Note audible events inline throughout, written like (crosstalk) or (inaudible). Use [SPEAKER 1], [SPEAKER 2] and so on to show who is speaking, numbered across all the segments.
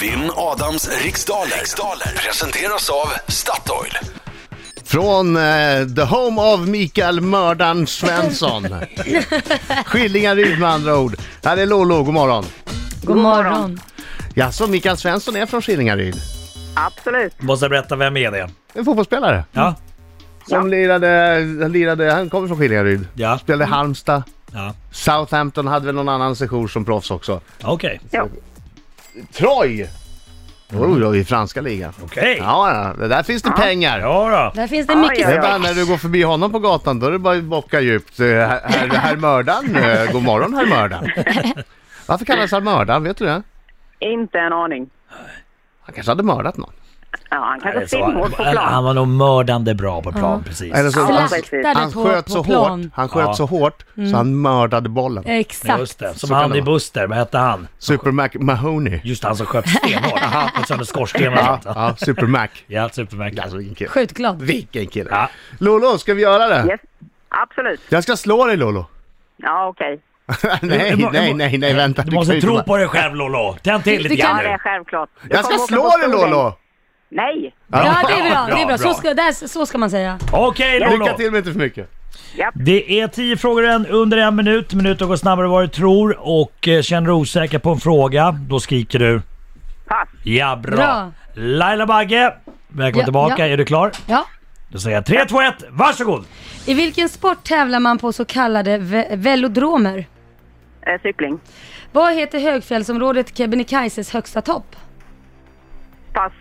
[SPEAKER 1] Vinn Adams riksdaler. riksdaler presenteras av Statoil.
[SPEAKER 2] Från eh, the home of Mikael Mördan Svensson. Skillingaryd med andra ord. Här är Lollo, god morgon.
[SPEAKER 3] God morgon.
[SPEAKER 2] Jaså, Mikael Svensson är från Skillingaryd?
[SPEAKER 4] Absolut.
[SPEAKER 5] Måste berätta vem är det?
[SPEAKER 2] En fotbollsspelare.
[SPEAKER 5] Ja,
[SPEAKER 2] Som lirade, han lirade, han kommer från Skillingaryd.
[SPEAKER 5] ja,
[SPEAKER 2] Spelade i Halmstad.
[SPEAKER 5] ja.
[SPEAKER 2] Southampton hade väl någon annan session som proffs också.
[SPEAKER 5] Okej,
[SPEAKER 4] Ja.
[SPEAKER 2] Troy! Oj, oj, i franska ligan.
[SPEAKER 5] okej. Mm. Ja.
[SPEAKER 2] Ja, ja, det där finns det pengar.
[SPEAKER 5] då.
[SPEAKER 3] Där finns det
[SPEAKER 4] Ja,
[SPEAKER 2] Det
[SPEAKER 3] mycket.
[SPEAKER 2] är bara när du går förbi honom på gatan, då är det bara att bocka djupt. Eh, Herr, herr, herr Mördan, eh, god morgon herr Mördan. Varför kallas han Mördan, vet du det?
[SPEAKER 4] Inte en aning.
[SPEAKER 2] Han kanske hade mördat någon.
[SPEAKER 4] Ja, han
[SPEAKER 5] Det är
[SPEAKER 4] kanske
[SPEAKER 5] så.
[SPEAKER 4] filmhårt på
[SPEAKER 5] Han, han
[SPEAKER 4] plan.
[SPEAKER 5] var nog mördande bra på plan,
[SPEAKER 3] Ja.
[SPEAKER 5] precis.
[SPEAKER 2] Eller så, han,
[SPEAKER 4] precis.
[SPEAKER 3] Slaktade
[SPEAKER 2] han
[SPEAKER 3] på,
[SPEAKER 2] sköt så
[SPEAKER 3] på plan. Eh.
[SPEAKER 2] hårt, han sköt
[SPEAKER 5] Ja.
[SPEAKER 2] så hårt så han mördade bollen.
[SPEAKER 3] Exakt.
[SPEAKER 5] Just det. Som
[SPEAKER 2] Så kan
[SPEAKER 5] han
[SPEAKER 2] det
[SPEAKER 5] i
[SPEAKER 2] vara.
[SPEAKER 5] Buster, vad hette han?
[SPEAKER 2] Super Mac Mahoney.
[SPEAKER 5] Just han som sköt (laughs) stenhårt. Och sen skorsten och
[SPEAKER 2] Ja,
[SPEAKER 5] allt.
[SPEAKER 2] ja, Super Mac.
[SPEAKER 5] Ja, supermärkligt.
[SPEAKER 2] Alltså vilken kille.
[SPEAKER 3] Skjutglad.
[SPEAKER 2] Vilken kille.
[SPEAKER 5] Ja.
[SPEAKER 2] Lolo, ska vi göra det?
[SPEAKER 4] Yes. Absolut.
[SPEAKER 2] Jag ska slå dig Lolo.
[SPEAKER 4] Ja, okej.
[SPEAKER 2] nej, nej, nej, nej, vänta.
[SPEAKER 5] Du
[SPEAKER 2] kan ju
[SPEAKER 5] måste
[SPEAKER 2] inte
[SPEAKER 5] tro
[SPEAKER 2] bara-
[SPEAKER 5] på dig själv Lollo. Tänd till
[SPEAKER 3] Du
[SPEAKER 5] lite
[SPEAKER 3] kan-
[SPEAKER 5] grann
[SPEAKER 4] Ja, det
[SPEAKER 5] nu.
[SPEAKER 4] är självklart. Du
[SPEAKER 2] Jag ska
[SPEAKER 4] kommer åka
[SPEAKER 2] slå
[SPEAKER 4] på
[SPEAKER 2] dig
[SPEAKER 4] stor
[SPEAKER 2] Lolo!
[SPEAKER 4] däng. Nej!
[SPEAKER 3] Ja, det är bra. Det är
[SPEAKER 5] Bra,
[SPEAKER 3] bra.
[SPEAKER 5] bra.
[SPEAKER 3] Så, ska, där, så ska man säga.
[SPEAKER 5] Okej
[SPEAKER 2] Lycka
[SPEAKER 5] Lollo.
[SPEAKER 2] till men inte för mycket.
[SPEAKER 5] Det är tio frågor än under en minut. Minuter går snabbare än vad du tror. Och eh, känner du osäker på en fråga, då skriker du.
[SPEAKER 4] Pass.
[SPEAKER 5] Ja, bra.
[SPEAKER 3] Bra.
[SPEAKER 5] Laila Bagge, välkommen
[SPEAKER 3] Ja,
[SPEAKER 5] tillbaka.
[SPEAKER 3] ja.
[SPEAKER 5] Är du klar?
[SPEAKER 3] Ja.
[SPEAKER 5] Då säger jag 3, 2, 1, varsågod!
[SPEAKER 3] I vilken sport tävlar man på så kallade ve- velodromer?
[SPEAKER 4] Eh, cykling.
[SPEAKER 3] Vad heter högfjällsområdet Kebnekaises högsta topp?
[SPEAKER 4] Pass.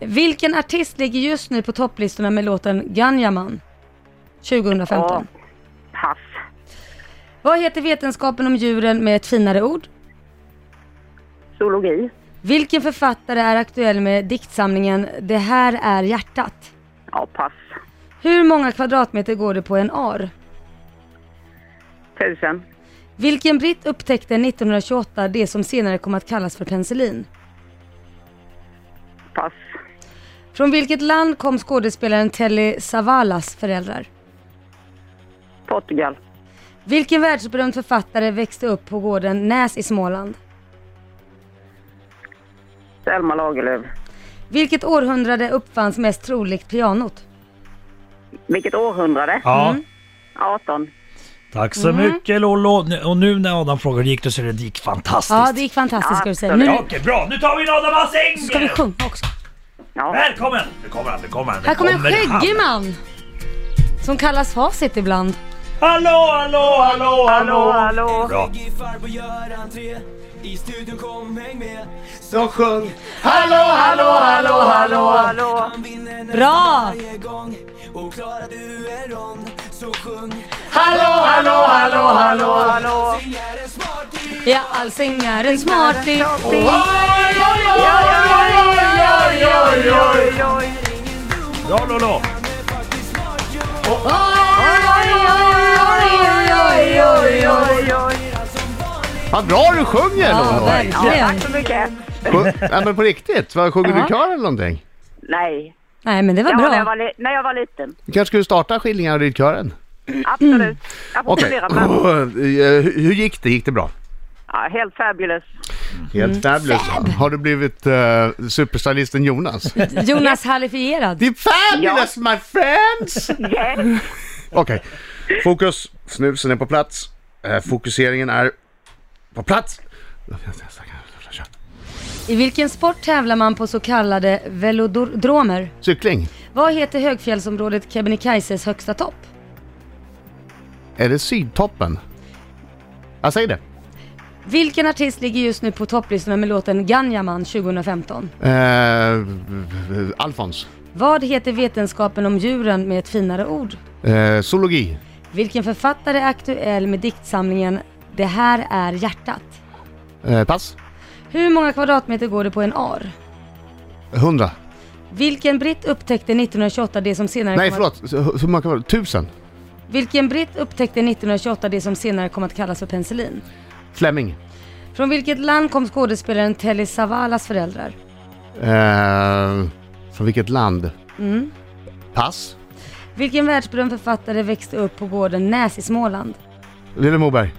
[SPEAKER 3] Vilken artist ligger just nu på topplistorna med låten Ganjaman? 2015.
[SPEAKER 4] Ja. Pass.
[SPEAKER 3] Vad heter vetenskapen om djuren med ett finare ord?
[SPEAKER 4] Zoologi.
[SPEAKER 3] Vilken författare är aktuell med diktsamlingen Det här är hjärtat?
[SPEAKER 4] Ja, pass.
[SPEAKER 3] Hur många kvadratmeter går det på en ar?
[SPEAKER 4] Tusen.
[SPEAKER 3] Vilken britt upptäckte 1928 det som senare kom att kallas för penicillin?
[SPEAKER 4] Pass.
[SPEAKER 3] Från vilket land kom skådespelaren Telly Savalas föräldrar?
[SPEAKER 4] Portugal.
[SPEAKER 3] Vilken världsberömd författare växte upp på gården Näs i Småland?
[SPEAKER 4] Selma Lagerlöf.
[SPEAKER 3] Vilket århundrade uppfanns mest troligt pianot?
[SPEAKER 4] Vilket århundrade?
[SPEAKER 5] Ja,
[SPEAKER 3] Mm.
[SPEAKER 4] 18.
[SPEAKER 5] tack så mycket Lollo. Nu- Och nu när Adam frågar hur det gick det så är det det gick fantastiskt.
[SPEAKER 3] Ja, det gick fantastiskt ska du säga.
[SPEAKER 4] Absolut.
[SPEAKER 3] Nu
[SPEAKER 5] Ja, Okej, bra. Nu tar vi in Adam Alsing!
[SPEAKER 3] ska vi sjunga också.
[SPEAKER 4] Ja.
[SPEAKER 5] Välkommen! Nu kommer han, nu kommer han. nu
[SPEAKER 3] Här kommer en
[SPEAKER 5] han.
[SPEAKER 3] skäggig man! Som kallas Facit ibland.
[SPEAKER 5] Hallå, hallå, hallå, hallå!
[SPEAKER 4] Hallå, hallå.
[SPEAKER 5] Bra.
[SPEAKER 6] Skäggig farbror gör entré I studion kom, häng med
[SPEAKER 2] Så sjung!
[SPEAKER 4] Hallå, hallå, hallå.
[SPEAKER 6] Han vinner nästan
[SPEAKER 3] Bra!
[SPEAKER 6] varje gång Och klarar du en rond Så sjung
[SPEAKER 4] Hallå, hallå.
[SPEAKER 6] Säng är en smarty
[SPEAKER 3] Ja, Alsing är en smarting.
[SPEAKER 4] Oj, oj.
[SPEAKER 5] Bra Lollo!
[SPEAKER 4] Oj, oj.
[SPEAKER 2] Vad bra du sjunger
[SPEAKER 3] Ja,
[SPEAKER 2] Lolo!
[SPEAKER 3] verkligen.
[SPEAKER 4] Så mycket.
[SPEAKER 2] Sjö- Nej men på riktigt, vad, sjunger du
[SPEAKER 3] Ja.
[SPEAKER 2] i kör eller någonting?
[SPEAKER 4] Nej.
[SPEAKER 3] Nej, men det var
[SPEAKER 4] Ja, när, jag var
[SPEAKER 3] bra.
[SPEAKER 4] li- när jag var liten.
[SPEAKER 2] Du kanske skulle starta Skillingaryd-kören?
[SPEAKER 4] Absolut. Jag får
[SPEAKER 2] Okej.
[SPEAKER 4] fundera på det.
[SPEAKER 2] Eh, hur hur gick det? Gick det bra?
[SPEAKER 4] Ja, Helt fabulous.
[SPEAKER 2] Helt fabulous. Har du blivit uh, superstylisten Jonas?
[SPEAKER 3] Jonas halifierad.
[SPEAKER 2] Det är fabulous my friends!
[SPEAKER 4] Yeah.
[SPEAKER 2] Okej, fokus. Snusen är på plats. Eh, Fokuseringen är på plats.
[SPEAKER 3] I vilken sport tävlar man på så kallade velodromer?
[SPEAKER 2] Cykling.
[SPEAKER 3] Vad heter högfjällsområdet Kebnekaises högsta topp?
[SPEAKER 2] Är det Sydtoppen? Jag säger det.
[SPEAKER 3] Vilken artist ligger just nu på topplistorna med låten Ganjaman 2015?
[SPEAKER 2] Eh, Alfons.
[SPEAKER 3] Vad heter vetenskapen om djuren med ett finare ord?
[SPEAKER 2] Eh, zoologi.
[SPEAKER 3] Vilken författare är aktuell med diktsamlingen Det här är hjärtat?
[SPEAKER 2] Eh, pass.
[SPEAKER 3] Hur många kvadratmeter går det på en ar?
[SPEAKER 2] 100.
[SPEAKER 3] Vilken britt upptäckte 1928 det som senare
[SPEAKER 2] Nej
[SPEAKER 3] kom
[SPEAKER 2] förlåt, Så- hur många var det? 1000.
[SPEAKER 3] Att... Vilken britt upptäckte 1928 det som senare kom att kallas för penicillin?
[SPEAKER 2] Fleming.
[SPEAKER 3] Från vilket land kom skådespelaren Telly Savalas föräldrar?
[SPEAKER 2] Eh, från vilket land? Pass.
[SPEAKER 3] Vilken världsberömd författare växte upp på gården Näs i Småland?
[SPEAKER 2] Lille Moberg.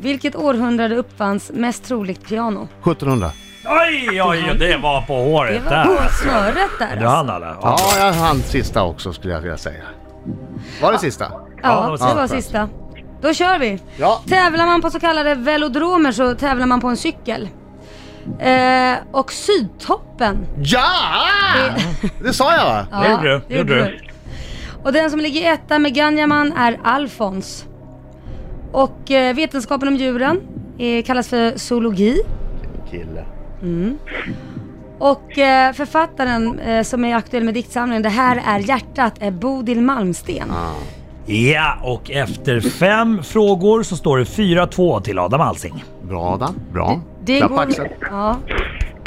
[SPEAKER 3] Vilket århundrade uppfanns mest troligt piano?
[SPEAKER 2] 1700.
[SPEAKER 5] Oj, oj, oj, det var på
[SPEAKER 3] Det
[SPEAKER 5] håret där.
[SPEAKER 3] var snöret där. alltså.
[SPEAKER 5] Du hann alla?
[SPEAKER 2] Ja, jag hann sista också skulle jag vilja säga. Var det sista?
[SPEAKER 5] Ja,
[SPEAKER 3] Ja,
[SPEAKER 5] det var
[SPEAKER 3] det var
[SPEAKER 5] skönt.
[SPEAKER 3] sista. Då kör vi!
[SPEAKER 2] Ja.
[SPEAKER 3] Tävlar man på så kallade velodromer så tävlar man på en cykel. Eh, och Sydtoppen.
[SPEAKER 2] Ja! Det sa jag va?
[SPEAKER 3] Ja,
[SPEAKER 5] Det gjorde du, det gjorde du.
[SPEAKER 3] Och den som ligger etta med Ganjaman är Alfons. Och eh, vetenskapen om djuren eh, kallas för zoologi.
[SPEAKER 2] Kille.
[SPEAKER 3] Och eh, författaren eh, som är aktuell med diktsamlingen Det här är hjärtat är Bodil Malmsten.
[SPEAKER 5] Ja, och efter fem frågor så står det 4-2 till Adam Alsing.
[SPEAKER 2] Bra Adam, bra.
[SPEAKER 3] Det,
[SPEAKER 2] Klapp
[SPEAKER 3] går,
[SPEAKER 2] axeln.
[SPEAKER 3] ja,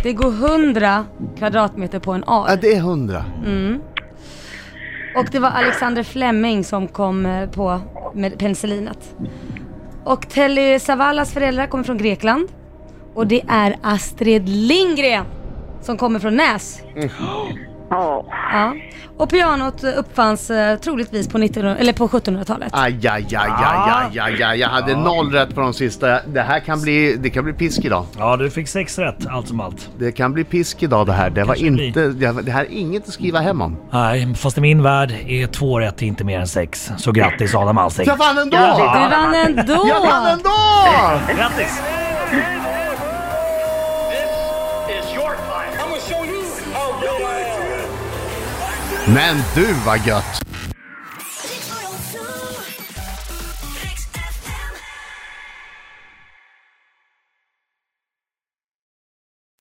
[SPEAKER 3] det går 100 kvadratmeter på en
[SPEAKER 2] Ja,
[SPEAKER 3] ar.
[SPEAKER 2] det är hundra.
[SPEAKER 3] Och det var Alexander Fleming som kom eh, på med penicillinet. Och Telly Savalas föräldrar kommer från Grekland. Och det är Astrid Lindgren som kommer från Näs.
[SPEAKER 4] Ja.
[SPEAKER 3] Ja. Och pianot eh, uppfanns eh, troligtvis på, 1900 eller på 1700-talet.
[SPEAKER 2] Aj, aj, aj, aj, aj, aj, aj. Jag hade noll rätt på de sista. Det här kan bli, det kan bli pisk idag.
[SPEAKER 5] Ja, du fick sex rätt allt som allt.
[SPEAKER 2] Det kan bli pisk idag det här. Det, var
[SPEAKER 5] Kanske blir.
[SPEAKER 2] inte, det det här är inget att skriva hem om.
[SPEAKER 5] Nej, fast i min värld är två rätt inte mer än sex. Så grattis Adam Alsing.
[SPEAKER 2] Jag vann ändå!
[SPEAKER 3] Du vann ändå!
[SPEAKER 2] Jag vann ändå!
[SPEAKER 5] Grattis!
[SPEAKER 2] Men du vad gött!